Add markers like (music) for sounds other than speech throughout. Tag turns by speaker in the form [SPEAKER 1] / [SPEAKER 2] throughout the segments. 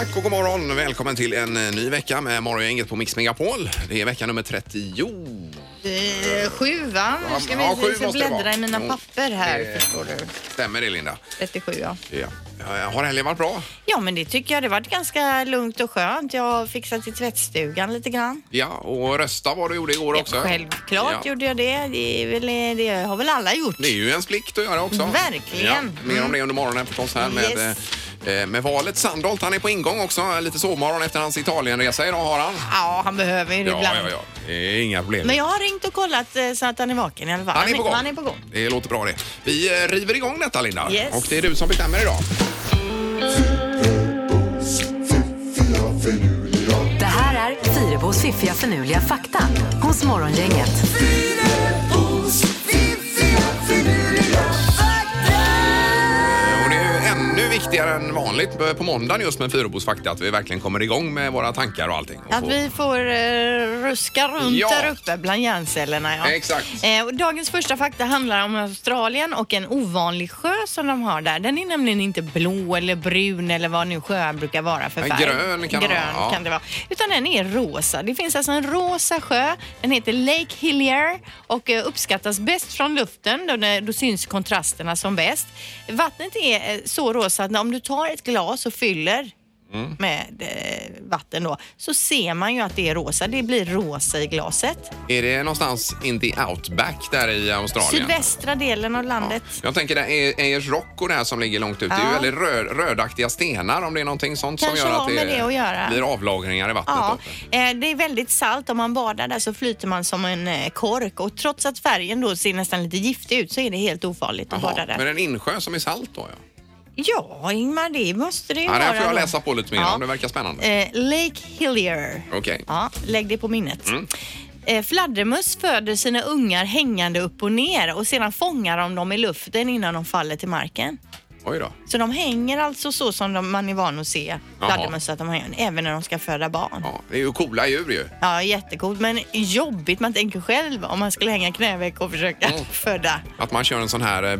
[SPEAKER 1] Eh, god morgon! Välkommen till en eh, ny vecka med Morgongänget på Mix Megapol. Det är vecka nummer 30.
[SPEAKER 2] Eh, Sjuan. Nu ska vi
[SPEAKER 1] Ja, sju
[SPEAKER 2] jag ska
[SPEAKER 1] måste det vara.
[SPEAKER 2] bläddra i mina
[SPEAKER 1] Jo.
[SPEAKER 2] papper här,
[SPEAKER 1] Eh.
[SPEAKER 2] förstår du.
[SPEAKER 1] Stämmer det, Linda?
[SPEAKER 2] 37, ja.
[SPEAKER 1] Ja. Eh, Har helgen varit bra?
[SPEAKER 2] Ja, men det tycker jag. Det har varit ganska lugnt och skönt. Jag har fixat i tvättstugan lite grann.
[SPEAKER 1] Ja, och rösta var du gjorde igår också.
[SPEAKER 2] Självklart
[SPEAKER 1] Ja.
[SPEAKER 2] gjorde jag det. Det, är väl, det har väl alla gjort.
[SPEAKER 1] Det är ju ens plikt att göra också.
[SPEAKER 2] Verkligen.
[SPEAKER 1] Ja, mer om det under morgonen förstås här med,
[SPEAKER 2] Yes.
[SPEAKER 1] eh, med valet. Sandholt, han är på ingång också. Lite sovmorgon efter hans Italienresa idag har han.
[SPEAKER 2] Ja, han behöver ju det ibland.
[SPEAKER 1] ja, ja. Det är inga problem.
[SPEAKER 2] Men jag har ringt och kollat eh, så att han är vaken i alla fall.
[SPEAKER 1] Han är på gång.
[SPEAKER 2] Han är på gång.
[SPEAKER 1] Det låter bra det. Vi eh, river igång detta Linda.
[SPEAKER 2] Yes.
[SPEAKER 1] Och det är du som bestämmer idag.
[SPEAKER 3] Det här är Fyrabos fiffiga förnuliga fakta hos Morgongänget.
[SPEAKER 1] Och det är ju ännu viktigare än vanligt på måndagen just med Fyrebos fakta att vi verkligen kommer igång med våra tankar och allting. Och
[SPEAKER 2] Att
[SPEAKER 1] får-
[SPEAKER 2] vi får eh, ruska runt
[SPEAKER 1] Ja.
[SPEAKER 2] där uppe bland hjärncellerna. Ja.
[SPEAKER 1] Exakt.
[SPEAKER 2] Eh, och dagens första fakta handlar om Australien och en ovanlig sjö som de har där. Den är nämligen inte blå eller brun eller vad nu sjöar brukar vara för
[SPEAKER 1] Men
[SPEAKER 2] färg.
[SPEAKER 1] grön kan det
[SPEAKER 2] grön
[SPEAKER 1] vara, ja.
[SPEAKER 2] kan det vara. Utan den är rosa. Det finns alltså en rosa sjö. Den heter Lake Hillier och eh, uppskattas bäst från luften. Då, då syns kontrasterna som bäst. Vattnet är eh, så rosa att om du tar ett glas och fyller
[SPEAKER 1] Mm.
[SPEAKER 2] med eh, vatten då, så ser man ju att det är rosa. Det blir rosa i glaset.
[SPEAKER 1] Är det någonstans in the outback där i Australien?
[SPEAKER 2] Sydvästra delen av
[SPEAKER 1] Ja.
[SPEAKER 2] landet.
[SPEAKER 1] Jag tänker det E- är Ayers Rock och det här som ligger långt ut. Det är ju
[SPEAKER 2] Ja.
[SPEAKER 1] väldigt röd, rödaktiga stenar om det är någonting sånt
[SPEAKER 2] Kanske
[SPEAKER 1] som gör
[SPEAKER 2] har
[SPEAKER 1] att det,
[SPEAKER 2] med det att göra.
[SPEAKER 1] blir avlagringar i vattnet.
[SPEAKER 2] Ja,
[SPEAKER 1] då.
[SPEAKER 2] eh, det är väldigt salt. Om man badar där så flyter man som en eh, kork och trots att färgen då ser nästan lite giftig ut så är det helt ofarligt att
[SPEAKER 1] Jaha,
[SPEAKER 2] bada där.
[SPEAKER 1] men en insjö som är salt då? Ja.
[SPEAKER 2] Ja, Ingmar, det måste det ju
[SPEAKER 1] Ja, det här
[SPEAKER 2] vara
[SPEAKER 1] får jag
[SPEAKER 2] då.
[SPEAKER 1] läsa på lite mer om. Det verkar spännande.
[SPEAKER 2] Eh, Lake Hillier.
[SPEAKER 1] Okej. Mm.
[SPEAKER 2] Ja, lägg det på minnet. Eh, Fladdermöss föder sina ungar hängande upp och ner och sedan fångar de dem i luften innan de faller till marken.
[SPEAKER 1] Oj då.
[SPEAKER 2] Så de hänger alltså så som de, man är van att se
[SPEAKER 1] Jaha.
[SPEAKER 2] fladdermöss att de hänger, även när de ska föda barn.
[SPEAKER 1] Ja, det är ju coola djur ju.
[SPEAKER 2] Ja, jättecoolt. Men jobbigt, man tänker själv om man skulle hänga knäveck och försöka
[SPEAKER 1] Mm.
[SPEAKER 2] föda.
[SPEAKER 1] Att man kör en sån här eh,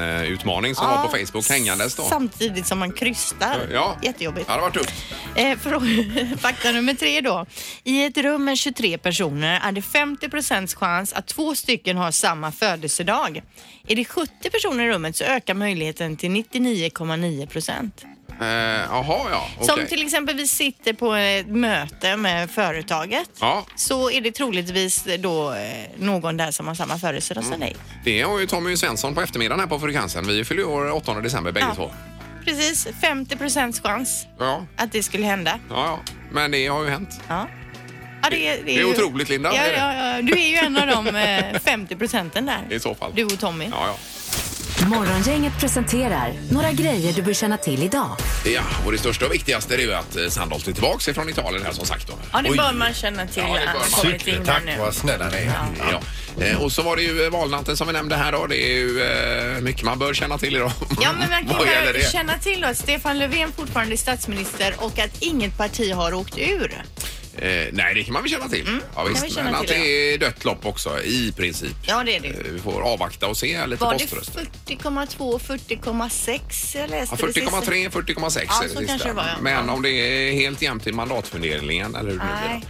[SPEAKER 1] Batman-utmaning som var på
[SPEAKER 2] Ja,
[SPEAKER 1] Facebook hängandes då.
[SPEAKER 2] Samtidigt som man krystar.
[SPEAKER 1] Ja.
[SPEAKER 2] Jättejobbigt.
[SPEAKER 1] Ja, det var tufft.
[SPEAKER 2] Eh, frå- (laughs) Fakta nummer tre då. I ett rum med 23 personer är det 50 chans att två stycken har samma födelsedag. Är det 70 personer i rummet så ökar möjligheten till 99,9 procent.
[SPEAKER 1] Eh, Jaha, ja.
[SPEAKER 2] Som
[SPEAKER 1] okej.
[SPEAKER 2] till exempel vi sitter på ett möte med företaget
[SPEAKER 1] Ja.
[SPEAKER 2] så är det troligtvis då eh, någon där som har samma födelsedag
[SPEAKER 1] Mm.
[SPEAKER 2] som dig.
[SPEAKER 1] Det har ju Tommy Svensson på eftermiddagen här på Frekvensen. Vi fyller ju år 8 december bägge
[SPEAKER 2] Ja.
[SPEAKER 1] två.
[SPEAKER 2] Precis, 50 procents chans
[SPEAKER 1] Ja,
[SPEAKER 2] att det skulle hända.
[SPEAKER 1] ja, ja. Men det har ju hänt.
[SPEAKER 2] Ja. Ja, det,
[SPEAKER 1] Det är otroligt, Linda,
[SPEAKER 2] Ja,
[SPEAKER 1] det är det.
[SPEAKER 2] ja, ja. Du är ju en
[SPEAKER 1] (laughs)
[SPEAKER 2] av de eh, 50 procenten där.
[SPEAKER 1] I så fall.
[SPEAKER 2] Du och Tommy.
[SPEAKER 1] Ja, ja.
[SPEAKER 3] Morgongänget presenterar några grejer du bör känna till idag.
[SPEAKER 1] Ja, och det största och viktigaste är ju att eh, Sandholt är tillbaka ifrån Italien här som sagt. Då.
[SPEAKER 2] Ja, det bör man känna till.
[SPEAKER 1] Ja, det bör
[SPEAKER 2] att
[SPEAKER 1] man.
[SPEAKER 2] han kommit in här nu.
[SPEAKER 4] snälla ni är.
[SPEAKER 1] Ja. Eh, Och så var det ju eh, valnatten som vi nämnde här då. Det är ju eh, mycket man bör känna till idag.
[SPEAKER 2] Ja,
[SPEAKER 1] (laughs)
[SPEAKER 2] men man
[SPEAKER 1] Vad
[SPEAKER 2] kan
[SPEAKER 1] gäller
[SPEAKER 2] ju
[SPEAKER 1] det?
[SPEAKER 2] känna till att Stefan Löfven fortfarande är statsminister och att inget parti har åkt ur.
[SPEAKER 1] Eh, nej, det kan man väl känna till. ja,
[SPEAKER 2] Mm, kan
[SPEAKER 1] visst.
[SPEAKER 2] vi känna
[SPEAKER 1] men att
[SPEAKER 2] till,
[SPEAKER 1] det är dött lopp också i princip.
[SPEAKER 2] Ja, det är det
[SPEAKER 1] Eh,
[SPEAKER 2] ju.
[SPEAKER 1] Vi får avvakta och se lite
[SPEAKER 2] Var det
[SPEAKER 1] poströster.
[SPEAKER 2] 40,2, 40,6 jag läste
[SPEAKER 1] Ja,
[SPEAKER 2] det sista.
[SPEAKER 1] 40,3, 40,6
[SPEAKER 2] Ja,
[SPEAKER 1] är
[SPEAKER 2] så kanske det var, ja.
[SPEAKER 1] Men
[SPEAKER 2] Ja.
[SPEAKER 1] om det är helt jämnt till mandatfördelningen eller hur det nu
[SPEAKER 2] Nej.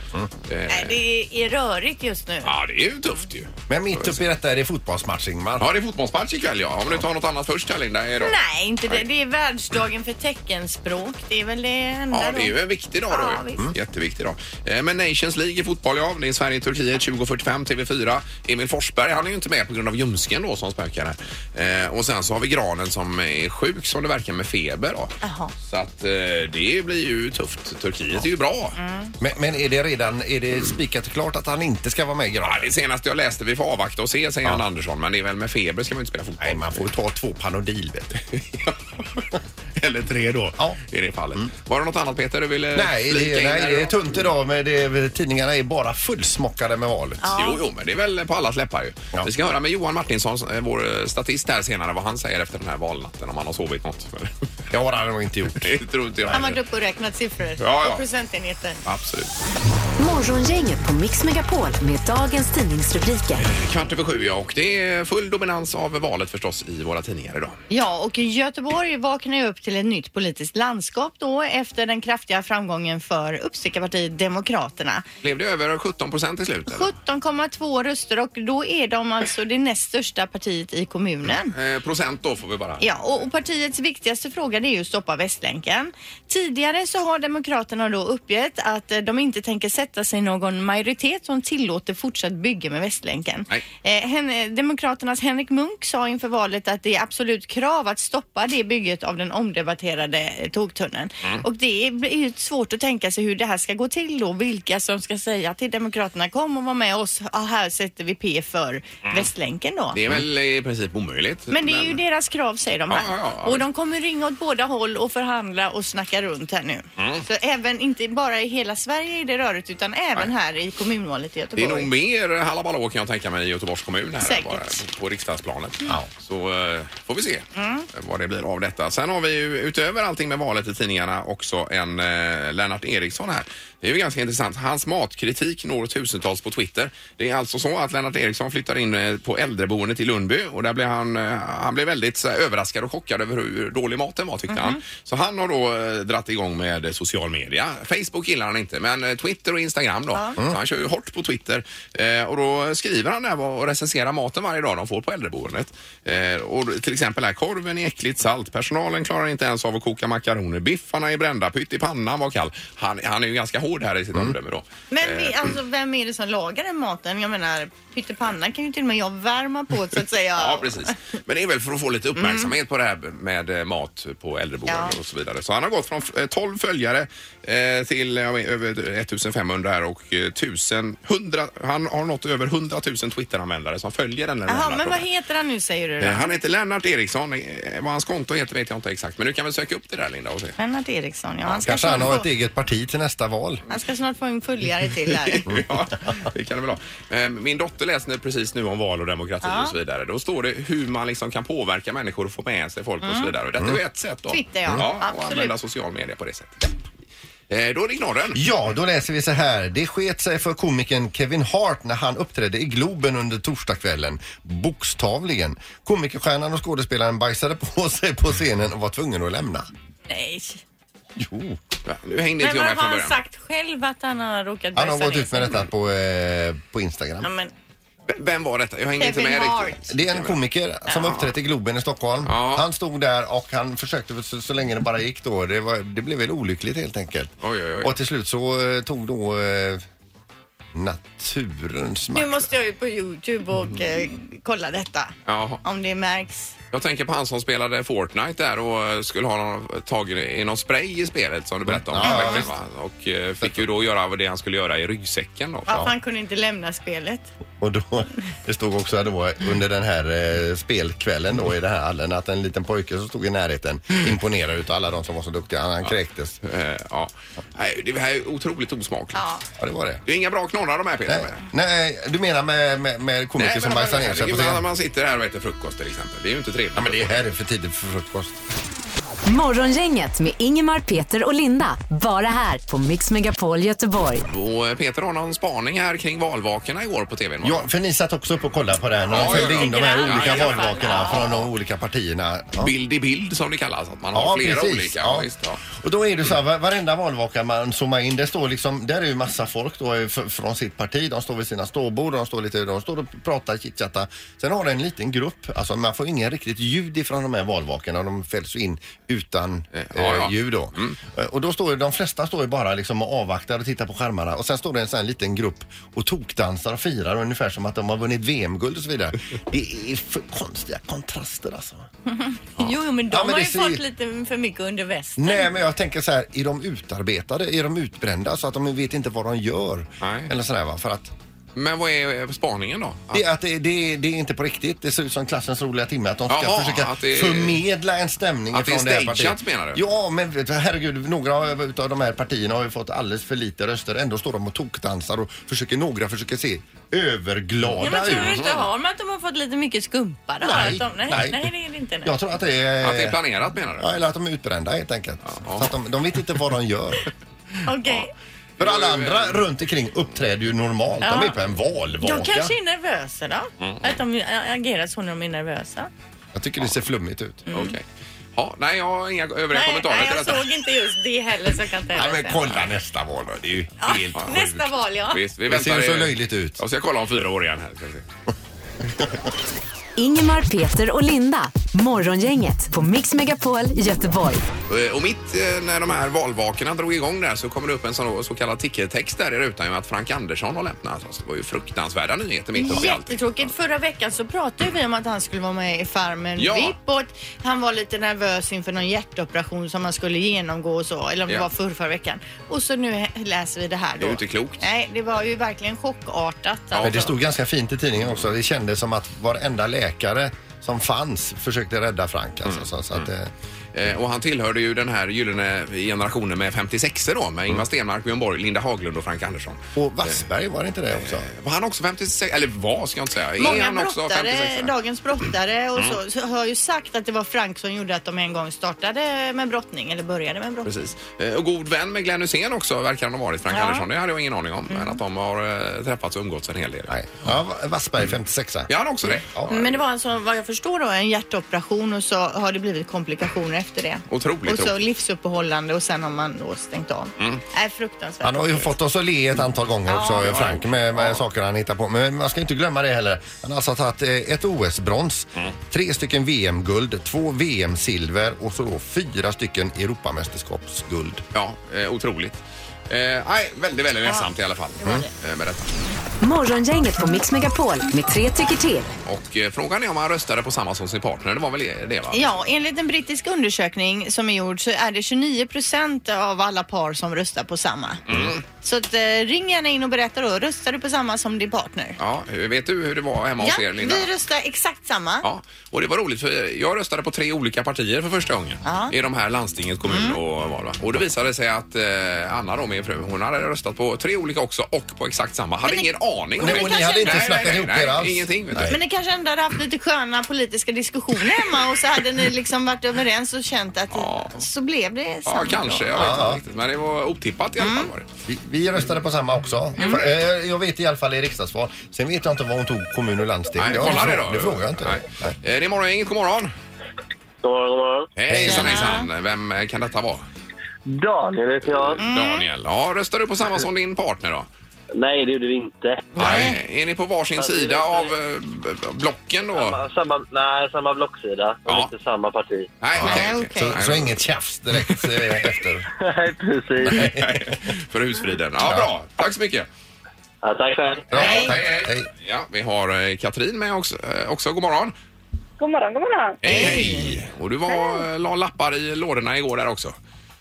[SPEAKER 1] blir. Mm.
[SPEAKER 2] Nej,
[SPEAKER 1] Eh,
[SPEAKER 2] det är rörigt just nu.
[SPEAKER 1] ja, det är ju tufft ju.
[SPEAKER 4] Men mitt uppe i detta är det fotbollsmatch, Ingmar.
[SPEAKER 1] Ja, det är fotbollsmatch ikväll ja. Om du tar något annat först här Linda. Idag.
[SPEAKER 2] Nej, inte det. Det är världsdagen för teckenspråk. Det är väl det enda
[SPEAKER 1] Ja, det är
[SPEAKER 2] då.
[SPEAKER 1] ju en viktig dag
[SPEAKER 2] Ja,
[SPEAKER 1] då. ju.
[SPEAKER 2] visst.
[SPEAKER 1] Mm. Jätteviktig dag. Eh, Men Nations League i fotboll, ja. Det är Sverige-Turkiet 20.45, TV4. Emil Forsberg, han är ju inte med på grund av ljumsken då som spökar här. Eh, Och sen så har vi Granen som är sjuk som det verkar med feber då.
[SPEAKER 2] Jaha.
[SPEAKER 1] Så att eh, det blir ju tufft. Turkiet är ju bra.
[SPEAKER 2] Mm.
[SPEAKER 4] Men, men är det redan är det spikat och klart att han inte ska vara med i
[SPEAKER 1] Ja,
[SPEAKER 4] granen?
[SPEAKER 1] det senaste jag läste, vi får avvakta och se, säger Jan Andersson. Men det är väl med feber ska man ju inte spela fotboll.
[SPEAKER 4] Nej, man får ta två Panodil, vet du.
[SPEAKER 1] (laughs) Eller tre då,
[SPEAKER 4] Ja.
[SPEAKER 1] i (laughs) det fallet. Var det något annat Peter du ville
[SPEAKER 4] Nej,
[SPEAKER 1] flika
[SPEAKER 4] det,
[SPEAKER 1] in
[SPEAKER 4] nej,
[SPEAKER 1] här
[SPEAKER 4] det är
[SPEAKER 1] idag?
[SPEAKER 4] tunt idag, men det, tidningarna är bara fullsmockade med valet.
[SPEAKER 1] Jo, jo, men det är väl på allas läppar ju.
[SPEAKER 4] Ja.
[SPEAKER 1] Vi ska höra med Johan Martinsson, eh, vår eh, statist här senare, vad han säger efter den här valnatten, om han har sovit något. (laughs)
[SPEAKER 4] Det har han nog inte gjort.
[SPEAKER 1] Det tror inte jag
[SPEAKER 2] Han har
[SPEAKER 1] heller.
[SPEAKER 2] varit uppe och räknat siffror
[SPEAKER 1] Ja, ja.
[SPEAKER 2] och procentenheter.
[SPEAKER 1] Absolut.
[SPEAKER 3] Morgongänget på Mix Megapol med dagens tidningsrubriker.
[SPEAKER 1] Kvart över sju, ja. Och det är full dominans av valet förstås i våra tidningar idag.
[SPEAKER 2] Ja, och i Göteborg vaknar ju upp till ett nytt politiskt landskap då efter den kraftiga framgången för uppstickarpartiet Demokraterna.
[SPEAKER 1] Blev det över 17 procent i slutet?
[SPEAKER 2] 17,2 röster och då är de alltså det näst största partiet i kommunen.
[SPEAKER 1] Eh, procent då får vi bara.
[SPEAKER 2] Ja, och, och partiets viktigaste fråga det är ju att stoppa Västlänken. Tidigare så har Demokraterna då uppgett att eh, de inte tänker sätta sig i någon majoritet som tillåter fortsatt bygge med Västlänken.
[SPEAKER 1] Nej.
[SPEAKER 2] Eh, hen, eh, Demokraternas Henrik Munk sa inför valet att det är absolut krav att stoppa det bygget av den omdebatterade eh, tågtunneln.
[SPEAKER 1] Mm.
[SPEAKER 2] Och det är blir ju svårt att tänka sig hur det här ska gå till då. Vilka som ska säga till Demokraterna kom och var med oss. Ja, här sätter vi P för
[SPEAKER 1] Mm.
[SPEAKER 2] Västlänken då.
[SPEAKER 1] Det är väl i princip omöjligt.
[SPEAKER 2] Men det är ju deras krav säger de
[SPEAKER 1] Ja,
[SPEAKER 2] här.
[SPEAKER 1] ja, ja,
[SPEAKER 2] och
[SPEAKER 1] visst.
[SPEAKER 2] de kommer ringa åt båda håll och förhandla och snacka runt här nu.
[SPEAKER 1] Mm.
[SPEAKER 2] Så även, inte bara i hela Sverige är det rörigt utan även här i kommunvalet i
[SPEAKER 1] Det
[SPEAKER 2] Göteborg.
[SPEAKER 1] är nog mer halabaloo kan jag tänka mig i Göteborgs kommun här
[SPEAKER 2] Säkert. Mm.
[SPEAKER 1] bara på, på riksdagsplanet. Så eh, får vi se vad det blir av detta. Sen har vi ju utöver allting med valet i tidningarna också en eh, Lennart Eriksson här. Det är ju ganska intressant. Hans matkritik når tusentals på Twitter. Det är alltså så att Lennart Eriksson flyttar in eh, på äldreboendet i Lundby och där blev han, eh, han blev väldigt så här, överraskad och chockad över hur dålig maten var
[SPEAKER 2] Mhm.
[SPEAKER 1] tyckte han. Så han har då eh, dratt igång med eh, social media. Facebook gillar han inte men eh, Twitter och Instagram då. Så han kör ju hårt på Twitter eh, och då skriver han där vad- och recenserar maten varje dag de får på äldreboendet. Eh, och till exempel här, korven är äckligt salt, personalen klarar inte ens av att koka makaroner, biffarna är brända, pytt i pannan var kall. Han, han är ju ganska hård här i sitt omdöme då.
[SPEAKER 2] Men vi, alltså, vem är det som lagar den maten? Jag menar, pyttipannan kan ju till och med jag värma på så att
[SPEAKER 1] (laughs)
[SPEAKER 2] säga.
[SPEAKER 1] Ja, precis. Men det är väl för att få lite uppmärksamhet på det här med eh, mat på äldreboenden
[SPEAKER 2] Mm. Ja.
[SPEAKER 1] och så vidare. Så han har gått från eh, 12 följare eh, till eh, jag vet, över 1500 här och eh, 1000, 100, han har nått över 100 000 Twitteranvändare som följer den här
[SPEAKER 2] Jaha,
[SPEAKER 1] här
[SPEAKER 2] men vad
[SPEAKER 1] frågan.
[SPEAKER 2] heter han nu säger du?
[SPEAKER 1] Eh,
[SPEAKER 2] då?
[SPEAKER 1] Han heter Lennart Eriksson. Eh, Vad hans konto heter vet jag inte exakt. Men du kan väl söka upp det där Linda och se.
[SPEAKER 2] Lennart Eriksson, ja. Han ska,
[SPEAKER 4] Kanske han
[SPEAKER 2] snart
[SPEAKER 4] har
[SPEAKER 2] få,
[SPEAKER 4] ett eget parti till nästa val.
[SPEAKER 2] han ska snart få en följare
[SPEAKER 1] (laughs)
[SPEAKER 2] till här.
[SPEAKER 1] ja, det kan det väl ha. Eh, Min dotter läste precis nu om val och demokrati
[SPEAKER 2] Ja.
[SPEAKER 1] och så vidare. Då står det hur man liksom kan påverka människor och få med sig folk och så vidare. Och Detta är ju ett sätt då.
[SPEAKER 2] Mm. Twitter, ja.
[SPEAKER 1] och
[SPEAKER 2] Absolut.
[SPEAKER 1] använda social media på det sättet. Eh, Då är det knorren.
[SPEAKER 4] Ja, då läser vi så här. Det sket sig för komikern Kevin Hart när han uppträdde i Globen under torsdagskvällen. Bokstavligen. Komikerstjärnan och skådespelaren bajsade på sig på scenen och var tvungen att lämna.
[SPEAKER 2] Nej.
[SPEAKER 4] Jo.
[SPEAKER 1] Ja, Nu hängde
[SPEAKER 2] Men
[SPEAKER 1] inte jag
[SPEAKER 2] vad
[SPEAKER 1] med
[SPEAKER 2] har
[SPEAKER 1] från
[SPEAKER 2] han
[SPEAKER 1] början.
[SPEAKER 2] sagt själv att han har råkat
[SPEAKER 4] Han har
[SPEAKER 2] bajsa
[SPEAKER 4] gått
[SPEAKER 2] ner
[SPEAKER 4] ut med
[SPEAKER 2] sig?
[SPEAKER 4] detta på, eh, på Instagram.
[SPEAKER 2] Ja, men,
[SPEAKER 1] V- Vem var detta? Jag hängde inte
[SPEAKER 2] Kevin
[SPEAKER 1] med
[SPEAKER 2] Hart.
[SPEAKER 1] riktigt.
[SPEAKER 4] Det är en komiker som uppträtt i Globen i Stockholm.
[SPEAKER 1] Ja.
[SPEAKER 4] Han stod där och han försökte så, så länge det bara gick då. Det, var, det blev väl olyckligt helt enkelt.
[SPEAKER 1] Oj, oj, oj.
[SPEAKER 4] Och till slut så eh, tog då eh, naturens
[SPEAKER 2] Nu
[SPEAKER 4] makt.
[SPEAKER 2] måste jag ju på Youtube
[SPEAKER 4] Mm.
[SPEAKER 2] och eh, kolla detta.
[SPEAKER 1] Jaha.
[SPEAKER 2] Om det märks.
[SPEAKER 1] Jag tänker på han som spelade Fortnite där och eh, skulle ha någon, tagit i någon spray i spelet som du berättade om.
[SPEAKER 4] Ja,
[SPEAKER 1] förra veckan, va? och eh, fick ju då göra det han skulle göra i ryggsäcken. Då.
[SPEAKER 2] Varför han kunde inte lämna spelet.
[SPEAKER 4] Och då, det stod också då under den här eh, spelkvällen då i den här hallen att en liten pojke som stod i närheten imponerade utav alla de som var så duktiga. Han, han kräktes.
[SPEAKER 1] Eh, ja. Nej, Det här är otroligt osmakligt.
[SPEAKER 2] Ja.
[SPEAKER 4] Ja, det var det.
[SPEAKER 1] Det är inga bra knorrar de här Peter.
[SPEAKER 4] Nej,
[SPEAKER 1] med.
[SPEAKER 4] nej du menar med, med, med komiker
[SPEAKER 1] men
[SPEAKER 4] som bajsar ner sig på
[SPEAKER 1] herregud, när
[SPEAKER 4] scenen?
[SPEAKER 1] man sitter här och äter frukost till exempel. Det är ju inte trevligt.
[SPEAKER 4] Ja, men det här är för tidigt för frukost.
[SPEAKER 3] Morgongänget med Ingemar, Peter och Linda. Bara här på Mix Megapol Göteborg.
[SPEAKER 1] Och eh, Peter har någon spaning här kring valvakorna igår på tvn. va?
[SPEAKER 4] Ja, för ni satt också upp och kollade på det här när
[SPEAKER 1] Ja,
[SPEAKER 4] de följde
[SPEAKER 1] ja, ja.
[SPEAKER 4] in de här olika
[SPEAKER 1] Ja, ja,
[SPEAKER 4] valvakorna från de olika partierna. Ja.
[SPEAKER 1] Bild i bild som det kallas. Att man har flera olika. Ja, visst, ja.
[SPEAKER 4] Och då är det så här, va- varenda valvaka man zoomar in, det står liksom, där är ju massa folk då eh, f- från sitt parti. De står vid sina ståbord, de står lite, de står och pratar, chitchattar. Sen har det en liten grupp, alltså man får ingen riktigt ljud ifrån de här valvakorna. De fälls ju in utan eh,
[SPEAKER 1] ja, ja. Mm.
[SPEAKER 4] ljud då. Eh, Och då står ju- de flesta står ju bara liksom och avvaktar och tittar på skärmarna. Och sen står det en sån här liten grupp och tokdansar och firar ungefär som att de har vunnit VM-guld och så
[SPEAKER 1] (laughs)
[SPEAKER 4] vidare. Det är för konstiga kontraster alltså.
[SPEAKER 2] Jo, jo, men de
[SPEAKER 4] Ja, men
[SPEAKER 2] har
[SPEAKER 4] det
[SPEAKER 2] ju
[SPEAKER 4] ser-
[SPEAKER 2] fått lite för mycket under västen.
[SPEAKER 4] Nej, men jag tänker så här, är de utarbetade? Är de utbrända så att de vet inte vad de gör?
[SPEAKER 1] Nej.
[SPEAKER 4] Eller sådär va, för att
[SPEAKER 1] Men vad är eh, spaningen då?
[SPEAKER 4] Det, att det, det, det är inte på riktigt. Det ser ut som klassens roliga timme. Att de ska
[SPEAKER 1] Jaha,
[SPEAKER 4] försöka
[SPEAKER 1] att det-
[SPEAKER 4] förmedla en stämning
[SPEAKER 1] Att det är
[SPEAKER 4] från det här
[SPEAKER 1] stageat,
[SPEAKER 4] partiet.
[SPEAKER 1] menar du?
[SPEAKER 4] Ja, men vet du, herregud, några av utav de här partierna har ju fått alldeles för lite röster. Ändå står de och tokdansar och försöker, några försöker se
[SPEAKER 2] Ja,
[SPEAKER 4] överglada
[SPEAKER 2] men tror du
[SPEAKER 4] ut.
[SPEAKER 2] inte har man att de har fått lite mycket skumpa då?
[SPEAKER 4] Nej,
[SPEAKER 2] Att de, nej,
[SPEAKER 4] nej.
[SPEAKER 2] nej. det är det inte. Nej.
[SPEAKER 4] Jag tror att det är...
[SPEAKER 1] Att det är planerat menar du?
[SPEAKER 4] Ja, eller att de är utbrända helt enkelt.
[SPEAKER 1] Ja.
[SPEAKER 4] Så att de, de vet inte vad de gör.
[SPEAKER 2] Okej.
[SPEAKER 4] För alla andra runt omkring uppträder ju normalt.
[SPEAKER 2] Ja.
[SPEAKER 4] De är på en valvaka.
[SPEAKER 2] De kanske är nervösa då?
[SPEAKER 4] Mm.
[SPEAKER 2] Att de ä, agerar så när de är nervösa?
[SPEAKER 4] Jag tycker det ser flummigt ut.
[SPEAKER 2] Mm.
[SPEAKER 1] Okej. Ja, nej, jag har inga övriga
[SPEAKER 2] Nej,
[SPEAKER 1] kommentarer
[SPEAKER 2] nej,
[SPEAKER 1] till
[SPEAKER 2] jag
[SPEAKER 1] detta.
[SPEAKER 2] såg inte just det heller så jag kan inte
[SPEAKER 4] Nej,
[SPEAKER 2] heller
[SPEAKER 4] men
[SPEAKER 2] säga.
[SPEAKER 4] kolla nästa val då. Det är ju helt
[SPEAKER 2] ja,
[SPEAKER 4] sjukt.
[SPEAKER 2] Nästa val ja.
[SPEAKER 1] Visst, vi
[SPEAKER 4] Det ser
[SPEAKER 1] väntar.
[SPEAKER 4] ju så
[SPEAKER 1] i-
[SPEAKER 4] löjligt ut.
[SPEAKER 1] Jag ska kolla om fyra år igen här. Ska vi se.
[SPEAKER 3] Ingemar, Peter och Linda. Morgongänget på Mix Megapol Göteborg.
[SPEAKER 1] Eh, Och mitt eh, när de här valvakorna drog igång där så kommer det upp en sån, så kallad tickertext där i rutan ju att Frank Andersson har lämnat oss. Det var ju fruktansvärda nyheter mitt uppe i allt.
[SPEAKER 2] Jättetråkigt. Förra veckan så pratade vi om att han skulle vara med i Farmen
[SPEAKER 1] Ja.
[SPEAKER 2] VIP och att han var lite nervös inför någon hjärtoperation som han skulle genomgå och så. Eller om
[SPEAKER 1] Ja.
[SPEAKER 2] det var förr, förra veckan. Och så nu he- läser vi det här då.
[SPEAKER 1] Det är ju inte klokt.
[SPEAKER 2] Nej, det var ju verkligen chockartat.
[SPEAKER 4] Men det stod ganska fint i tidningen också. Det kändes som att varenda läkare som fanns försökte rädda Frank. Alltså, så, så att, eh,
[SPEAKER 1] Eh, Och han tillhörde ju den här gyllene generationen med 56 då med
[SPEAKER 4] Mm.
[SPEAKER 1] Ingvar Stenmark, Björn Borg, Linda Haglund och Frank Andersson.
[SPEAKER 4] och Wassberg, var det inte det också?
[SPEAKER 1] Var han också 56? Eller var ska jag inte säga. Är
[SPEAKER 2] Många
[SPEAKER 1] han också Mm.
[SPEAKER 2] brottare,
[SPEAKER 1] 56?
[SPEAKER 2] dagens brottare och så, så har ju sagt att det var Frank som gjorde att de en gång startade med brottning eller började med brottning.
[SPEAKER 1] Precis. Eh, Och god vän med Glenn Hussein också verkar han ha varit, Frank
[SPEAKER 2] Ja.
[SPEAKER 1] Andersson. Det hade jag ingen aning om. Men att de har eh, träffats och umgåtts en hel del.
[SPEAKER 4] Nej. Ja, Va- Wassberg 56
[SPEAKER 1] Ja, han också det.
[SPEAKER 4] Ja.
[SPEAKER 2] Men det var alltså vad jag förstår då en hjärtoperation och så har det blivit komplikationer efter det.
[SPEAKER 1] Otroligt
[SPEAKER 2] Och så
[SPEAKER 1] tråkigt. Mm.
[SPEAKER 2] livsuppehållande och sen har man då stängt av. Är fruktansvärt.
[SPEAKER 4] Han har ju fått oss att le ett antal gånger också, Frank, med, med saker han hittar på. Men man ska inte glömma det heller. Han har alltså tagit eh, ett OS-brons, tre stycken VM-guld, två VM-silver och så då fyra stycken Europamästerskapsguld.
[SPEAKER 1] Ja, eh, otroligt. Eh, nej, väldigt, väldigt ledsamt i alla fall eh, med detta.
[SPEAKER 3] Morgongänget på Mix Megapol med tre tycker till.
[SPEAKER 1] Och eh, frågan är om han röstade på samma som sin partner. Det var väl det va?
[SPEAKER 2] Ja, enligt en brittisk undersökning som är gjord så är det 29 procent av alla par som röstar på samma.
[SPEAKER 1] Mm.
[SPEAKER 2] Så att, eh, ring gärna in och berätta då, röstar du på samma som din partner?
[SPEAKER 1] Ja, hur- vet du hur det var hemma hos er Linda?
[SPEAKER 2] vi röstar exakt samma.
[SPEAKER 1] Ja, och det var roligt för jag röstade på tre olika partier för första gången
[SPEAKER 2] Ja.
[SPEAKER 1] i de här landstinget, kommun
[SPEAKER 4] Mm.
[SPEAKER 1] och val. Va? Och det visade sig att eh, Anna då, min fru, hon hade röstat på tre olika också och på exakt samma. Hade
[SPEAKER 2] Men det-
[SPEAKER 1] ingen aning om
[SPEAKER 4] Nej,
[SPEAKER 1] det.
[SPEAKER 4] och ni hade inte
[SPEAKER 1] Nej,
[SPEAKER 4] snackat
[SPEAKER 1] nej,
[SPEAKER 4] ihop
[SPEAKER 1] nej,
[SPEAKER 4] er alls?
[SPEAKER 1] Ingenting. Vet
[SPEAKER 4] Nej.
[SPEAKER 1] du.
[SPEAKER 2] Men ni kanske ändå hade haft lite sköna politiska diskussioner hemma och så hade ni liksom varit överens och känt att
[SPEAKER 1] Ja.
[SPEAKER 2] så blev det samma.
[SPEAKER 1] Ja, kanske. Jag vet inte riktigt. Men det var otippat i alla fall. Var det.
[SPEAKER 4] Vi, vi röstade på samma också. För, eh, jag vet i alla fall i riksdagsval. Sen vet jag inte vad hon tog, kommun och landsting.
[SPEAKER 1] Nej,
[SPEAKER 4] Ja,
[SPEAKER 1] kolla
[SPEAKER 4] det,
[SPEAKER 1] det då.
[SPEAKER 4] det frågar jag inte.
[SPEAKER 1] Nej.
[SPEAKER 4] Nej.
[SPEAKER 1] Eh, Det är morgon, inget god morgon.
[SPEAKER 5] God morgon, god morgon.
[SPEAKER 1] Hejsan, hejsan. Vem eh, kan detta vara?
[SPEAKER 5] Daniel heter jag.
[SPEAKER 4] Mm.
[SPEAKER 1] Daniel. Ja, röstar du på samma som din partner då?
[SPEAKER 5] Nej, det gjorde vi inte.
[SPEAKER 1] Nej. Är ni på varsin sida av eh, b- b- blocken då?
[SPEAKER 5] Samma, samma, nej, samma blocksida. Men
[SPEAKER 1] Ja.
[SPEAKER 5] inte samma parti. (laughs)
[SPEAKER 1] Nej,
[SPEAKER 2] Nej,
[SPEAKER 1] okej.
[SPEAKER 2] okej.
[SPEAKER 1] okej.
[SPEAKER 4] Så, så inget tjafs direkt eh, efter.
[SPEAKER 5] Nej, precis.
[SPEAKER 1] (laughs) För husfriden. Ja, bra. Tack så mycket.
[SPEAKER 5] Ja, tack själv.
[SPEAKER 4] Bra,
[SPEAKER 2] Hej.
[SPEAKER 4] tack. Hej.
[SPEAKER 1] Ja, vi har eh, Katrin med också. eh, också. God morgon.
[SPEAKER 6] God morgon, god morgon.
[SPEAKER 1] Hej! Hej. Och du var, eh, la lappar i lådorna igår där också.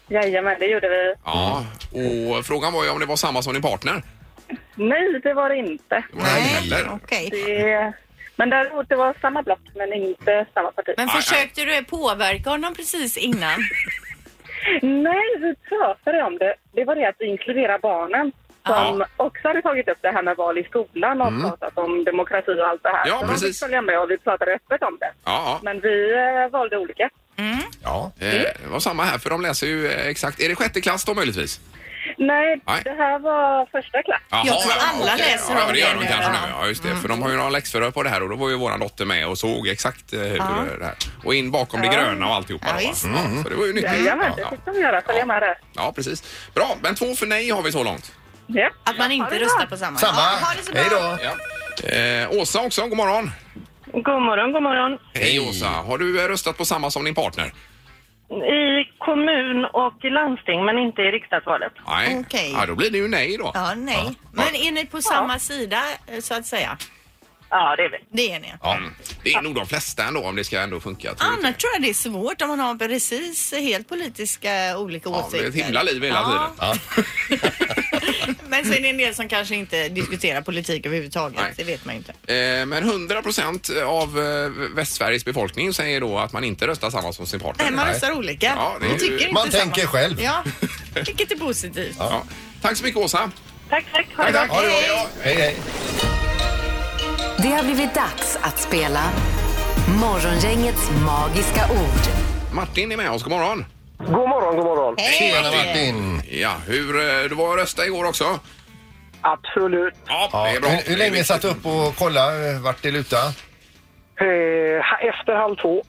[SPEAKER 6] Jajamän, det gjorde vi.
[SPEAKER 1] Ja, och frågan var ju om det var samma som din partner.
[SPEAKER 6] Nej, det var det inte.
[SPEAKER 1] Det var det inte heller.
[SPEAKER 2] okej.
[SPEAKER 6] Det... Men däremot, det var samma block, men inte samma parti.
[SPEAKER 2] Men
[SPEAKER 1] Nej, nej.
[SPEAKER 2] försökte du påverka honom precis (laughs) innan?
[SPEAKER 6] Nej, vi pratade om det. Det var det att inkludera barnen som också hade tagit upp det här med val i skolan och pratat om demokrati och allt det här.
[SPEAKER 1] Mm. Ja,
[SPEAKER 6] Så
[SPEAKER 1] precis.
[SPEAKER 6] De fick följa med och vi pratade öppet om det.
[SPEAKER 1] Ja, ja.
[SPEAKER 6] Men vi eh, valde olika.
[SPEAKER 4] Ja.
[SPEAKER 2] Mm.
[SPEAKER 1] Eh, Det var samma här, för de läser ju eh, exakt... Är det sjätte klass då möjligtvis?
[SPEAKER 6] Nej,
[SPEAKER 1] Nej.
[SPEAKER 6] det här var första klass.
[SPEAKER 1] Jaha,
[SPEAKER 2] Jag tror
[SPEAKER 1] ja,
[SPEAKER 2] alla
[SPEAKER 1] okej.
[SPEAKER 2] läser
[SPEAKER 1] ja,
[SPEAKER 2] om
[SPEAKER 1] det gör
[SPEAKER 2] det
[SPEAKER 1] de
[SPEAKER 2] nu,
[SPEAKER 1] kanske
[SPEAKER 2] ja.
[SPEAKER 1] nu. Ja, just det. För de har ju några läxförhör på det här och då var ju våran dotter med och såg exakt eh, hur det här. Och in bakom det gröna och alltihopa.
[SPEAKER 2] Ja,
[SPEAKER 1] då, va?
[SPEAKER 2] visst.
[SPEAKER 1] ja, så det var ju nyttigt.
[SPEAKER 6] Jajamän, det
[SPEAKER 1] ja,
[SPEAKER 6] fick de göra. Följa med där.
[SPEAKER 1] ja, precis. Bra, men två för nej har vi så långt.
[SPEAKER 6] Ja.
[SPEAKER 2] Att man
[SPEAKER 6] Ha det
[SPEAKER 2] inte
[SPEAKER 6] bra.
[SPEAKER 2] röstar på samma?
[SPEAKER 4] Samma.
[SPEAKER 2] Ja, ha det så bra.
[SPEAKER 4] Hej då.
[SPEAKER 1] Ja. Eh, Åsa också, god morgon.
[SPEAKER 6] God morgon, god morgon.
[SPEAKER 1] Hej Åsa. Har du eh, röstat på samma som din partner?
[SPEAKER 6] I kommun och i landsting, men inte i riksdagsvalet.
[SPEAKER 1] Nej.
[SPEAKER 2] Okej.
[SPEAKER 1] Ja, då blir det ju nej då.
[SPEAKER 2] Ja, nej. Men är ni på samma sida eh, så att säga?
[SPEAKER 6] Ja, det är vi.
[SPEAKER 2] Det är ni.
[SPEAKER 1] Ja. Det är nog de flesta ändå om det ska ändå funka. tror jag.
[SPEAKER 2] Annars tror jag det är svårt om man har precis helt politiska olika
[SPEAKER 1] Ja, det
[SPEAKER 2] åsikter.
[SPEAKER 1] är ett himla liv hela tiden.
[SPEAKER 4] Ja.
[SPEAKER 2] (laughs) Men sen är det en del som kanske inte diskuterar politik överhuvudtaget.
[SPEAKER 1] Nej.
[SPEAKER 2] Det vet man ju inte.
[SPEAKER 1] Eh, Men 100 procent av eh, Västsveriges befolkning säger då att man inte röstar samma som sin partner.
[SPEAKER 2] Nej, man röstar olika.
[SPEAKER 1] Ja, det är
[SPEAKER 2] Man
[SPEAKER 1] ju-
[SPEAKER 2] tycker
[SPEAKER 4] Man
[SPEAKER 2] inte samma.
[SPEAKER 4] tänker själv.
[SPEAKER 1] (laughs)
[SPEAKER 2] Ja, vilket är positivt.
[SPEAKER 1] Ja. Tack så mycket Åsa.
[SPEAKER 6] Tack, tack. Ha det bra.
[SPEAKER 4] Ja, det var bra. Hej, hej.
[SPEAKER 3] Det har blivit dags att spela Morgongängets magiska ord.
[SPEAKER 1] Martin är med oss, god morgon.
[SPEAKER 5] God morgon, god morgon.
[SPEAKER 4] Tjena Martin.
[SPEAKER 1] Ja, hur, eh, du var och röstade igår också.
[SPEAKER 5] Absolut.
[SPEAKER 1] Ja,
[SPEAKER 4] Ja,
[SPEAKER 1] det är bra.
[SPEAKER 4] hur, hur
[SPEAKER 1] Det är
[SPEAKER 4] länge
[SPEAKER 1] viktigt.
[SPEAKER 4] satt du upp och kollade eh, vart det lutar?
[SPEAKER 5] Eh, efter halv två.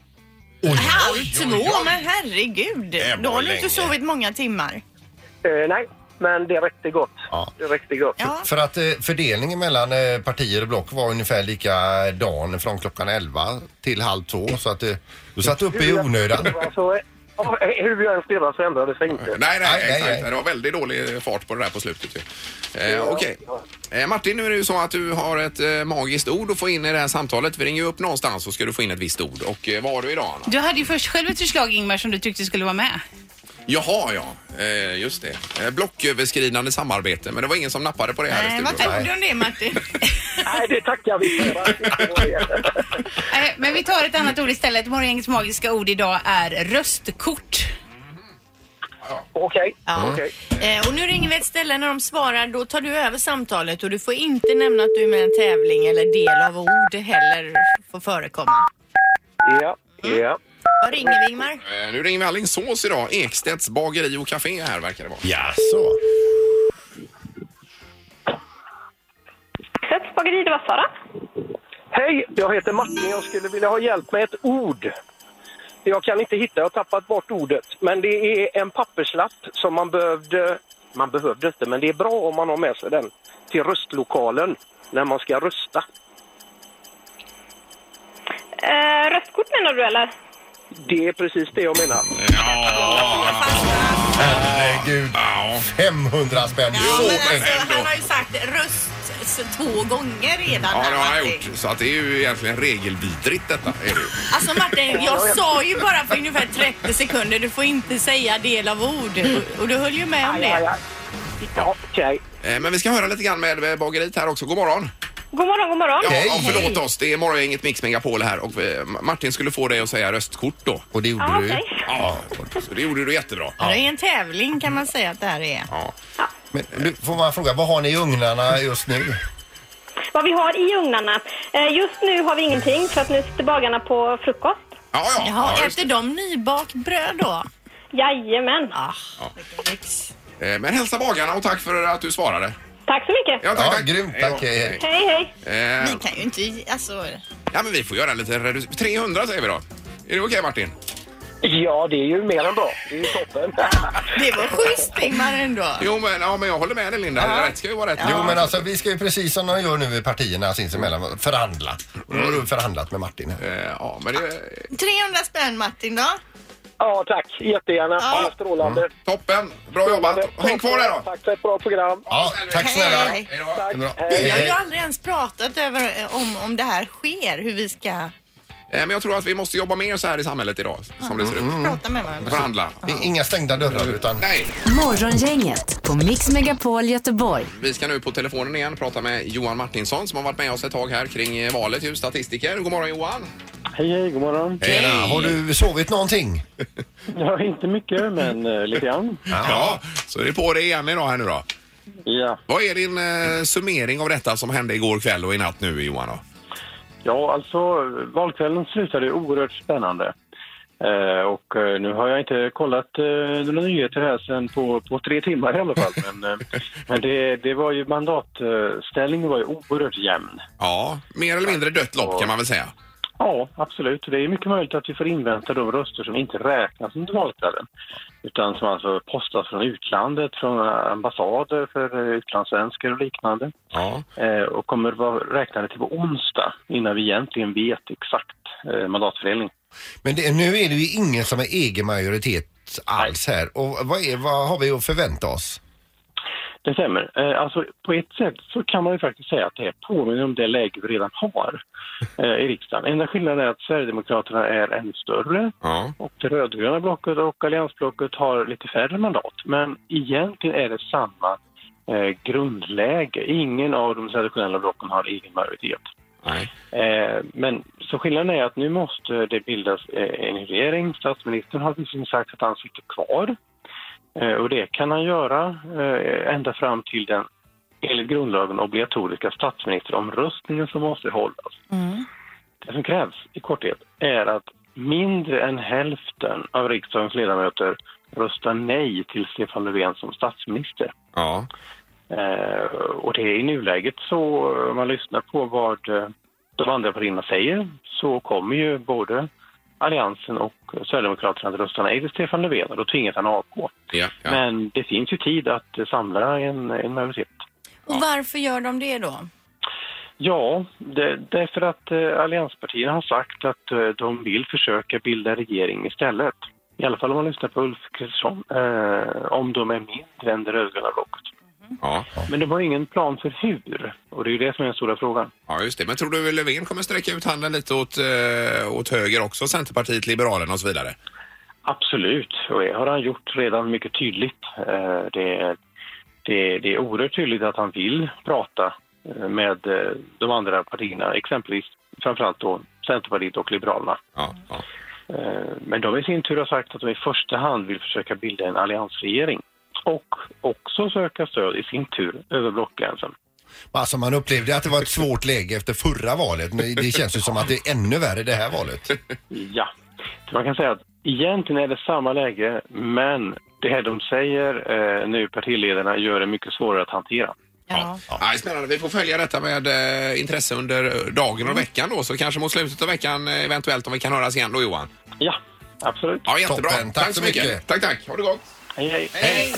[SPEAKER 2] Halv
[SPEAKER 1] oj, oj.
[SPEAKER 2] två, men herregud.
[SPEAKER 1] Det var
[SPEAKER 2] Då har du
[SPEAKER 1] länge.
[SPEAKER 2] inte sovit många timmar.
[SPEAKER 5] Eh, nej, men det räckte gott.
[SPEAKER 4] Ja.
[SPEAKER 5] Det räckte gott.
[SPEAKER 2] Ja.
[SPEAKER 4] För att eh, fördelningen mellan eh, partier och block var ungefär likadan från klockan 11 till halv två. Så att eh, du satt uppe i onödan.
[SPEAKER 5] Alltså, eh, ja, eh, hur jag än skrev så ändrade det sig inte.
[SPEAKER 1] Nej, nej,
[SPEAKER 4] Nej, nej,
[SPEAKER 1] exakt.
[SPEAKER 4] nej.
[SPEAKER 1] Det var väldigt dålig fart på det där på slutet. Ju. Eh, Okej. Eh, Martin, nu är det ju så att du har ett eh, magiskt ord att få in i det här samtalet. Vi ringer ju upp någonstans så ska du få in ett visst ord. Och eh, vad har du idag, Anna?
[SPEAKER 7] Du hade ju först själv ett förslag Ingmar som du tyckte skulle vara med.
[SPEAKER 1] Jaha, ja. Eh, just det. Eh, blocköverskridande samarbete. Men det var ingen som nappade på det här
[SPEAKER 7] Nej,
[SPEAKER 1] i
[SPEAKER 7] vad
[SPEAKER 1] studion.
[SPEAKER 7] tror du om det (laughs) Martin?
[SPEAKER 5] Nej, det tackar vi för.
[SPEAKER 2] (laughs)
[SPEAKER 7] Nej, Eh, Men vi tar ett annat ord istället. Morgongängets magiska ord idag är röstkort.
[SPEAKER 5] Okej.
[SPEAKER 2] Ja.
[SPEAKER 5] Okej.
[SPEAKER 2] Eh, och nu ringer vi ett ställe när de svarar. Då tar du över samtalet och du får inte nämna att du är med i en tävling eller del av ord heller får förekomma.
[SPEAKER 5] Ja. Ja.
[SPEAKER 2] Vad ringer vi Ingmar?
[SPEAKER 1] Eh, nu ringer vi Alingsås idag. Ekstedts bageri och café här verkar det vara.
[SPEAKER 4] Ja, så.
[SPEAKER 8] Sätts bageri, det var Sara.
[SPEAKER 5] Hej, jag heter Martin. Jag skulle vilja ha hjälp med ett ord. Jag kan inte hitta, jag har tappat bort ordet. Men det är en papperslapp som man behövde... Man behövde inte, men det är bra om man har med sig den till röstlokalen när man ska rösta.
[SPEAKER 8] Eh, röstkort menar du eller?
[SPEAKER 5] Det är precis det jag menar.
[SPEAKER 2] alltså,
[SPEAKER 4] Herregud. 500 spänn. Så mycket.
[SPEAKER 2] han har ju sagt röst två gånger redan.
[SPEAKER 1] Ja, det har jag gjort. Så att det är ju egentligen regelvidrigt detta. Är det. ju.
[SPEAKER 2] Alltså Martin, jag sa ju bara för ungefär 30 sekunder du får inte säga del av ord.
[SPEAKER 1] Mm.
[SPEAKER 2] Och du höll ju med om
[SPEAKER 5] Aj, aj,
[SPEAKER 2] det.
[SPEAKER 5] aj. Ja, Okej.
[SPEAKER 1] Eh, men vi ska höra lite grann med eh, bageriet här också. God morgon!
[SPEAKER 8] God morgon, god morgon.
[SPEAKER 1] Ja,
[SPEAKER 4] Hej.
[SPEAKER 1] ja, förlåt oss. Det är morgongänget Mix Megapol här och eh, Martin skulle få dig att säga röstkort då.
[SPEAKER 4] Och det gjorde
[SPEAKER 8] Ja,
[SPEAKER 4] du ju.
[SPEAKER 8] okej.
[SPEAKER 1] Ja, så det gjorde du jättebra.
[SPEAKER 2] Det är en tävling kan man säga att det här är.
[SPEAKER 1] Ja.
[SPEAKER 4] Men du, får man fråga, vad har ni i ugnarna just nu?
[SPEAKER 8] Vad vi har i ugnarna? Eh, just nu har vi ingenting för att nu sitter bagarna på frukost.
[SPEAKER 1] Ja, ja.
[SPEAKER 2] Jaha,
[SPEAKER 1] ja, just
[SPEAKER 2] äter de nybakt bröd då?
[SPEAKER 8] Jajamän.
[SPEAKER 2] Ah,
[SPEAKER 1] det. Eh, Men hälsa bagarna och tack för att du svarade.
[SPEAKER 8] Tack så mycket.
[SPEAKER 1] Ja,
[SPEAKER 4] Ja, grymt.
[SPEAKER 1] Hej då.
[SPEAKER 4] Tack. Hej, hej.
[SPEAKER 8] Hej, hej.
[SPEAKER 1] Eh,
[SPEAKER 2] vi kan ju inte... Alltså,
[SPEAKER 1] Ja, men vi får göra en liten reducering. 300 säger vi då. Är det okej Martin?
[SPEAKER 5] Ja, det är ju mer än bra. Det är ju toppen.
[SPEAKER 2] det var schysst Ingmar ändå.
[SPEAKER 1] Jo, men, ja, men jag håller med dig Linda. Rätt ska ju vara rätt.
[SPEAKER 4] Jo men alltså vi ska ju precis som de gör nu i partierna sinsemellan förhandla. Och då har du förhandlat med Martin här.
[SPEAKER 1] Eh, Ja, men det är
[SPEAKER 2] 300 spänn Martin då?
[SPEAKER 5] Ja, tack. Jättegärna. Ja. Strålande.
[SPEAKER 1] toppen. Bra jobbat. Häng kvar där då.
[SPEAKER 5] Tack för ett bra program.
[SPEAKER 4] Ja, tack snälla.
[SPEAKER 2] Hej.
[SPEAKER 1] Hej då.
[SPEAKER 5] Tack.
[SPEAKER 4] Bra.
[SPEAKER 2] Vi
[SPEAKER 4] Hej,
[SPEAKER 2] har ju
[SPEAKER 4] hej.
[SPEAKER 1] Eh.
[SPEAKER 2] aldrig ens pratat över, eh, om, om det här sker, hur vi ska
[SPEAKER 1] Eh, Men jag tror att vi måste jobba mer så här i samhället idag, som det ser ut.
[SPEAKER 4] Mm.
[SPEAKER 2] prata med varandra.
[SPEAKER 1] Förhandla.
[SPEAKER 4] Det är Inga stängda dörrar utan
[SPEAKER 1] Nej,
[SPEAKER 3] Morgongänget på Mix Megapol Göteborg.
[SPEAKER 1] vi ska nu på telefonen igen prata med Johan Martinsson som har varit med oss ett tag här kring eh, valet, ju statistiker. God morgon Johan!
[SPEAKER 5] Hej, hej. God morgon.
[SPEAKER 4] Tjena, har du sovit någonting?
[SPEAKER 5] Ja, inte mycket, men eh, lite (laughs) grann.
[SPEAKER 1] Ja, så är det på det igen idag här nu då.
[SPEAKER 5] Ja.
[SPEAKER 1] Vad är din eh, summering av detta som hände igår kväll och i natt nu Johan? Då?
[SPEAKER 5] Ja, alltså valkvällen slutade oerhört spännande. Eh, och eh, nu har jag inte kollat eh, några nyheter här sen på, på tre timmar i alla fall. (laughs) Men, eh, men det, det var ju mandatställningen var ju oerhört jämn.
[SPEAKER 1] Ja, mer eller mindre dött lopp kan man väl säga.
[SPEAKER 5] Ja, absolut. Det är mycket möjligt att vi får invänta de röster som inte räknas under valkvällen. Utan som alltså postas från utlandet, från ambassader för eh, utlandssvenskar och liknande.
[SPEAKER 1] Ja.
[SPEAKER 5] Eh, och kommer vara räknade till på onsdag innan vi egentligen vet exakt eh, mandatfördelning.
[SPEAKER 4] Men det, nu är det ju ingen som är egen majoritet alls här. Och vad, är, vad har vi att förvänta oss?
[SPEAKER 5] Det stämmer. Eh, Alltså, på ett sätt så kan man ju faktiskt säga att det påminner om det läge vi redan har eh, i riksdagen. Enda skillnaden är att Sverigedemokraterna är ännu större
[SPEAKER 1] Ja.
[SPEAKER 5] och det rödgröna blocket och alliansblocket har lite färre mandat. Men egentligen är det samma eh, grundläge. Ingen av de traditionella blocken har egen majoritet.
[SPEAKER 1] Nej.
[SPEAKER 5] Eh, men så skillnaden är att nu måste det bildas eh, en regering. Statsministern har visserligen sagt att han sitter kvar. Eh, och det kan han göra eh, ända fram till den enligt grundlagen obligatoriska statsministeromröstningen som måste hållas.
[SPEAKER 2] Mm.
[SPEAKER 5] Det som krävs i korthet är att mindre än hälften av riksdagens ledamöter röstar nej till Stefan Löfven som statsminister.
[SPEAKER 1] Ja.
[SPEAKER 5] Eh, och det är i nuläget så, eh, om man lyssnar på vad eh, de andra partierna säger, så kommer ju både Alliansen och Sverigedemokraterna att rösta nej till Stefan Löfven och då tvingas han avgå.
[SPEAKER 1] Ja, ja.
[SPEAKER 5] Men det finns ju tid att eh, samla en, en majoritet.
[SPEAKER 2] Och varför gör de det då?
[SPEAKER 5] Ja, det, därför att eh, allianspartierna har sagt att eh, de vill försöka bilda regering istället. I alla fall om man lyssnar på Ulf Kristersson, eh, om de är mindre än det rödgröna blocket.
[SPEAKER 1] Ja.
[SPEAKER 5] Men de har ingen plan för hur, och det är ju det som är den stora frågan.
[SPEAKER 1] ja, just det. Men tror du Löfven kommer sträcka ut handen lite åt, eh, åt höger också? Centerpartiet, Liberalerna och så vidare?
[SPEAKER 5] Absolut, och det har han gjort redan mycket tydligt. Eh, Det är, det, är- det är oerhört tydligt att han vill prata eh, med eh, de andra partierna, exempelvis framförallt då Centerpartiet och Liberalerna.
[SPEAKER 1] Ja, ja.
[SPEAKER 5] Eh, Men de i sin tur har sagt att de i första hand vill försöka bilda en alliansregering och också söka stöd i sin tur över blockgränsen.
[SPEAKER 4] Alltså man upplevde att det var ett svårt läge efter förra valet. Men det känns ju som att det är ännu värre det här valet.
[SPEAKER 5] Ja, så man kan säga att egentligen är det samma läge, men det här de säger eh, nu, partiledarna, gör det mycket svårare att hantera.
[SPEAKER 1] Ja. Nej, spännande. Vi får följa detta med eh, intresse under dagen
[SPEAKER 4] Mm.
[SPEAKER 1] och veckan då. Så kanske mot slutet av veckan eh, eventuellt om vi kan höras igen då Johan.
[SPEAKER 5] Ja, absolut.
[SPEAKER 1] Ja, jättebra.
[SPEAKER 4] Toppen. Tack så mycket.
[SPEAKER 1] Tack, tack. Ha det gott.
[SPEAKER 5] Hej, hej.
[SPEAKER 1] Hej.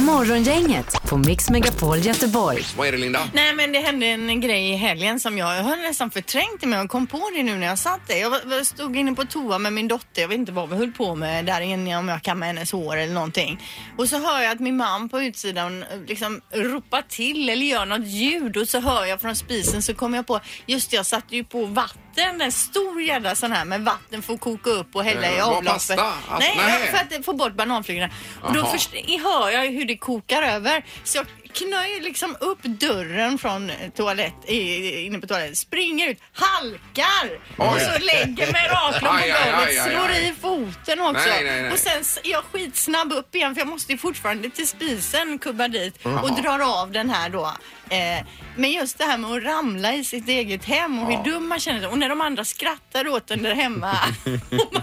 [SPEAKER 3] Morgongänget på Mix Megapol Göteborg.
[SPEAKER 1] Vad är det Linda?
[SPEAKER 2] Nej men det hände en grej i helgen som jag, jag har nästan förträngt det men jag kom på det nu när jag satt där. Jag var- var- stod inne på toa med min dotter, jag vet inte vad vi höll på med där inne om jag kammade hennes hår eller någonting. Och så hör jag att min man på utsidan eh, liksom ropar till eller gör något ljud och så hör jag från spisen så kommer jag på, just det, jag satte ju på vatten, en stor jävla sån här med vatten för att koka upp och hälla i
[SPEAKER 1] Eh, vad
[SPEAKER 2] avloppet.
[SPEAKER 1] pasta? Alltså,
[SPEAKER 2] nej,
[SPEAKER 1] nej.
[SPEAKER 2] för att få bort bananflugorna. Och då
[SPEAKER 1] Aha.
[SPEAKER 2] först, hör jag ju hur det kokar över. Så jag knöjer liksom upp dörren från eh, toalett, i- inne på toaletten, springer ut, halkar och så lägger mig raklång på
[SPEAKER 1] Aj, aj, aj,
[SPEAKER 2] golvet,
[SPEAKER 1] aj,
[SPEAKER 2] slår
[SPEAKER 1] aj.
[SPEAKER 2] i foten också.
[SPEAKER 1] Nej, nej, nej.
[SPEAKER 2] Och sen s- är jag skitsnabb upp igen för jag måste ju fortfarande till spisen kubba dit och drar av den här då. Eh, men just det här med att ramla i sitt eget hem och hur dum man känner sig. Och när de andra skrattar åt den där hemma. (laughs) och man,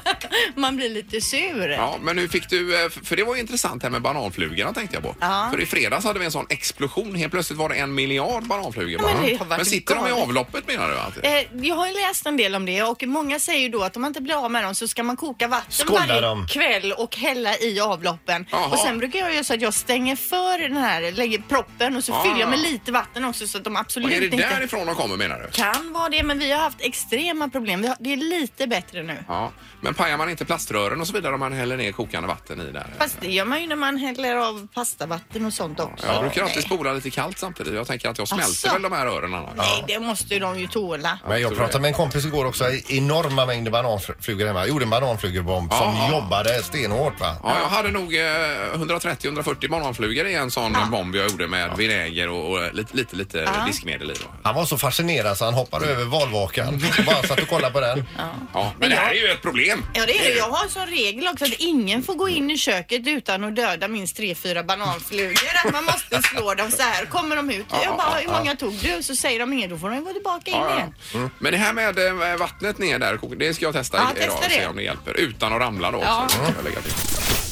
[SPEAKER 2] man blir lite sur.
[SPEAKER 1] Ja, men nu fick du, eh, för det var ju intressant här med bananflugorna tänkte jag på.
[SPEAKER 2] Ja.
[SPEAKER 1] För i fredags hade vi en sån explosion. Helt plötsligt var det en miljard bananflugor
[SPEAKER 2] Ja, men
[SPEAKER 1] bara.
[SPEAKER 2] det har varit
[SPEAKER 1] sitter de i
[SPEAKER 2] galet.
[SPEAKER 1] avloppet menar du? Att...
[SPEAKER 2] Eh, Jag har ju läst en del om det och många säger ju då att om man inte blir av med dem så ska man koka vatten
[SPEAKER 4] Skålla
[SPEAKER 2] varje
[SPEAKER 4] dem.
[SPEAKER 2] kväll och hälla i avloppen.
[SPEAKER 1] Jaha.
[SPEAKER 2] Och sen brukar jag göra så att jag stänger för den här, lägger proppen och så
[SPEAKER 1] Ah.
[SPEAKER 2] fyller jag med lite vatten också så att de
[SPEAKER 1] Och
[SPEAKER 2] absolut
[SPEAKER 1] är det
[SPEAKER 2] inte
[SPEAKER 1] därifrån de kommer menar du?
[SPEAKER 2] kan vara det. Men vi har haft extrema problem. Vi har, det är lite bättre nu.
[SPEAKER 1] Ja, men pajar man inte plaströren och så vidare om man häller ner kokande vatten i där?
[SPEAKER 2] Fast det gör man ju när man häller av pastavatten och sånt också.
[SPEAKER 1] Jag brukar alltid
[SPEAKER 2] Nej.
[SPEAKER 1] spola lite kallt samtidigt. Jag tänker att jag smälter
[SPEAKER 2] Asså?
[SPEAKER 1] väl de här öronen annars.
[SPEAKER 2] Nej, det måste ju de ju tåla.
[SPEAKER 4] Men jag pratade med en kompis igår också. Enorma mängder bananflugor hemma. Jag gjorde en bananflugebomb som
[SPEAKER 1] Ja.
[SPEAKER 4] jobbade stenhårt va.
[SPEAKER 1] Ja, jag hade nog eh, 130-140 bananflugor i en sån bomb jag gjorde med vinäger och, och lite, lite, lite diskmedel i. Då.
[SPEAKER 4] Han var så fascinerad så han hoppade över valvakan. Bara satt och kollade på den.
[SPEAKER 1] Ja, men det här är ju ett problem.
[SPEAKER 2] Ja, det är det. Jag har som regel också att ingen får gå in i köket utan att döda minst tre, fyra bananflugor. Att Man måste slå dem så här. Kommer de ut, jag bara, hur många tog du? Så säger de inget, då får de gå tillbaka in
[SPEAKER 1] Ja,
[SPEAKER 2] igen.
[SPEAKER 1] ja. Men det här med eh, vattnet ner där, det ska jag testa
[SPEAKER 2] Ja,
[SPEAKER 1] idag
[SPEAKER 2] testa
[SPEAKER 1] och se
[SPEAKER 2] det.
[SPEAKER 1] om det hjälper. Utan att ramla då också.
[SPEAKER 2] Ja.
[SPEAKER 1] ska jag lägga till.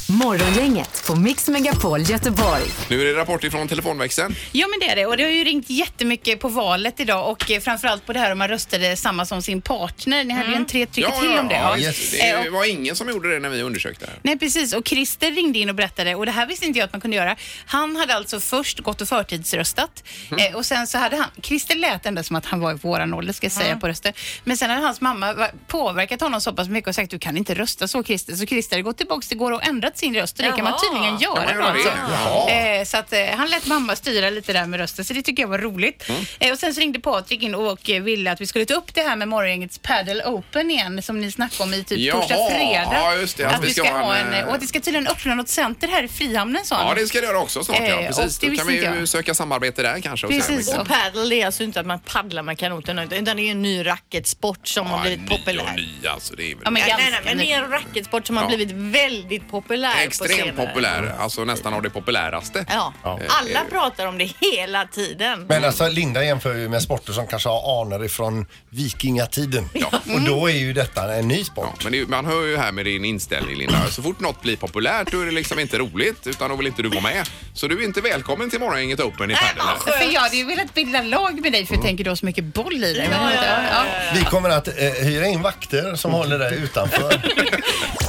[SPEAKER 3] Morgongänget på Mix Megapol Göteborg.
[SPEAKER 1] Nu är det rapport ifrån telefonväxeln.
[SPEAKER 7] Ja men det är det och det har ju ringt jättemycket på valet idag och eh, framförallt på det här om man röstade samma som sin partner. Ni hade ju
[SPEAKER 2] Mm.
[SPEAKER 7] en tre tycker till om det.
[SPEAKER 1] ja,
[SPEAKER 7] Ja.
[SPEAKER 1] just det.
[SPEAKER 7] Eh,
[SPEAKER 1] det
[SPEAKER 7] och-
[SPEAKER 1] var ingen som gjorde det när vi undersökte det här.
[SPEAKER 7] Nej precis och Christer ringde in och berättade och det här visste inte jag att man kunde göra. Han hade alltså först gått och förtidsröstat
[SPEAKER 1] Mm.
[SPEAKER 7] eh, och sen så hade han, Christer lät ändå som att han var i våran ålder ska jag säga
[SPEAKER 2] Mm.
[SPEAKER 7] på röster. Men sen hade hans mamma va- påverkat honom så pass mycket och sagt du kan inte rösta så Christer. Så Christer hade gått tillbaks igår och ändrat
[SPEAKER 5] sin röst och det kan man
[SPEAKER 2] Jaha.
[SPEAKER 5] tydligen göra.
[SPEAKER 1] man göra det?
[SPEAKER 5] alltså.
[SPEAKER 1] Jaha.
[SPEAKER 5] Eh, Så att eh, han lät mamma styra lite där med rösten så det tycker jag var roligt.
[SPEAKER 1] Mm.
[SPEAKER 5] Eh, Och sen så ringde Patrik in och eh, ville att vi skulle ta upp det här med morgongängets Paddle Open igen som ni snackade om i typ
[SPEAKER 1] Jaha.
[SPEAKER 5] torsdag, fredag.
[SPEAKER 1] Ja, just det,
[SPEAKER 5] Att, vi ska, ha en, eh, och att det ska tydligen öppna något center här i Frihamnen sa han.
[SPEAKER 1] Ja, det ska det göra också snart. Ja.
[SPEAKER 5] Eh, och
[SPEAKER 1] Precis.
[SPEAKER 5] det
[SPEAKER 1] Då kan
[SPEAKER 5] visste
[SPEAKER 1] vi
[SPEAKER 5] inte
[SPEAKER 1] ju
[SPEAKER 5] jag.
[SPEAKER 1] söka samarbete där kanske. och se om vi
[SPEAKER 5] Precis.
[SPEAKER 1] kan-
[SPEAKER 2] Och paddle det är alltså inte att man paddlar med kanoten utan det är ju en ny racketsport som har blivit
[SPEAKER 1] Ja, ny
[SPEAKER 2] populär.
[SPEAKER 1] och ny alltså. Det är väl...
[SPEAKER 5] Ja, men
[SPEAKER 2] Ja, nej, nej,
[SPEAKER 5] ganska
[SPEAKER 2] men det
[SPEAKER 5] ny.
[SPEAKER 2] är en racketsport som har
[SPEAKER 1] Ja.
[SPEAKER 2] blivit väldigt populär på
[SPEAKER 1] Extremt
[SPEAKER 2] senare.
[SPEAKER 1] populär, alltså nästan av det populäraste.
[SPEAKER 2] Ja.
[SPEAKER 4] Ja.
[SPEAKER 2] alla pratar om det hela tiden.
[SPEAKER 4] Men alltså Linda jämför ju med sporter som kanske har anor ifrån vikingatiden. Och då är ju detta en ny
[SPEAKER 1] Mm. Ja,
[SPEAKER 4] sport.
[SPEAKER 1] men det, är ju- man hör ju här med din inställning Linda. Så fort något blir populärt då är det liksom inte roligt utan då vill inte du vara med. Så du är inte välkommen till morgongänget Open i padel. här.
[SPEAKER 5] För jag hade ju velat bilda lag med dig för jag tänker du har så mycket boll i dig. men- ja.
[SPEAKER 4] Vi kommer att eh, hyra in vakter som håller dig utanför.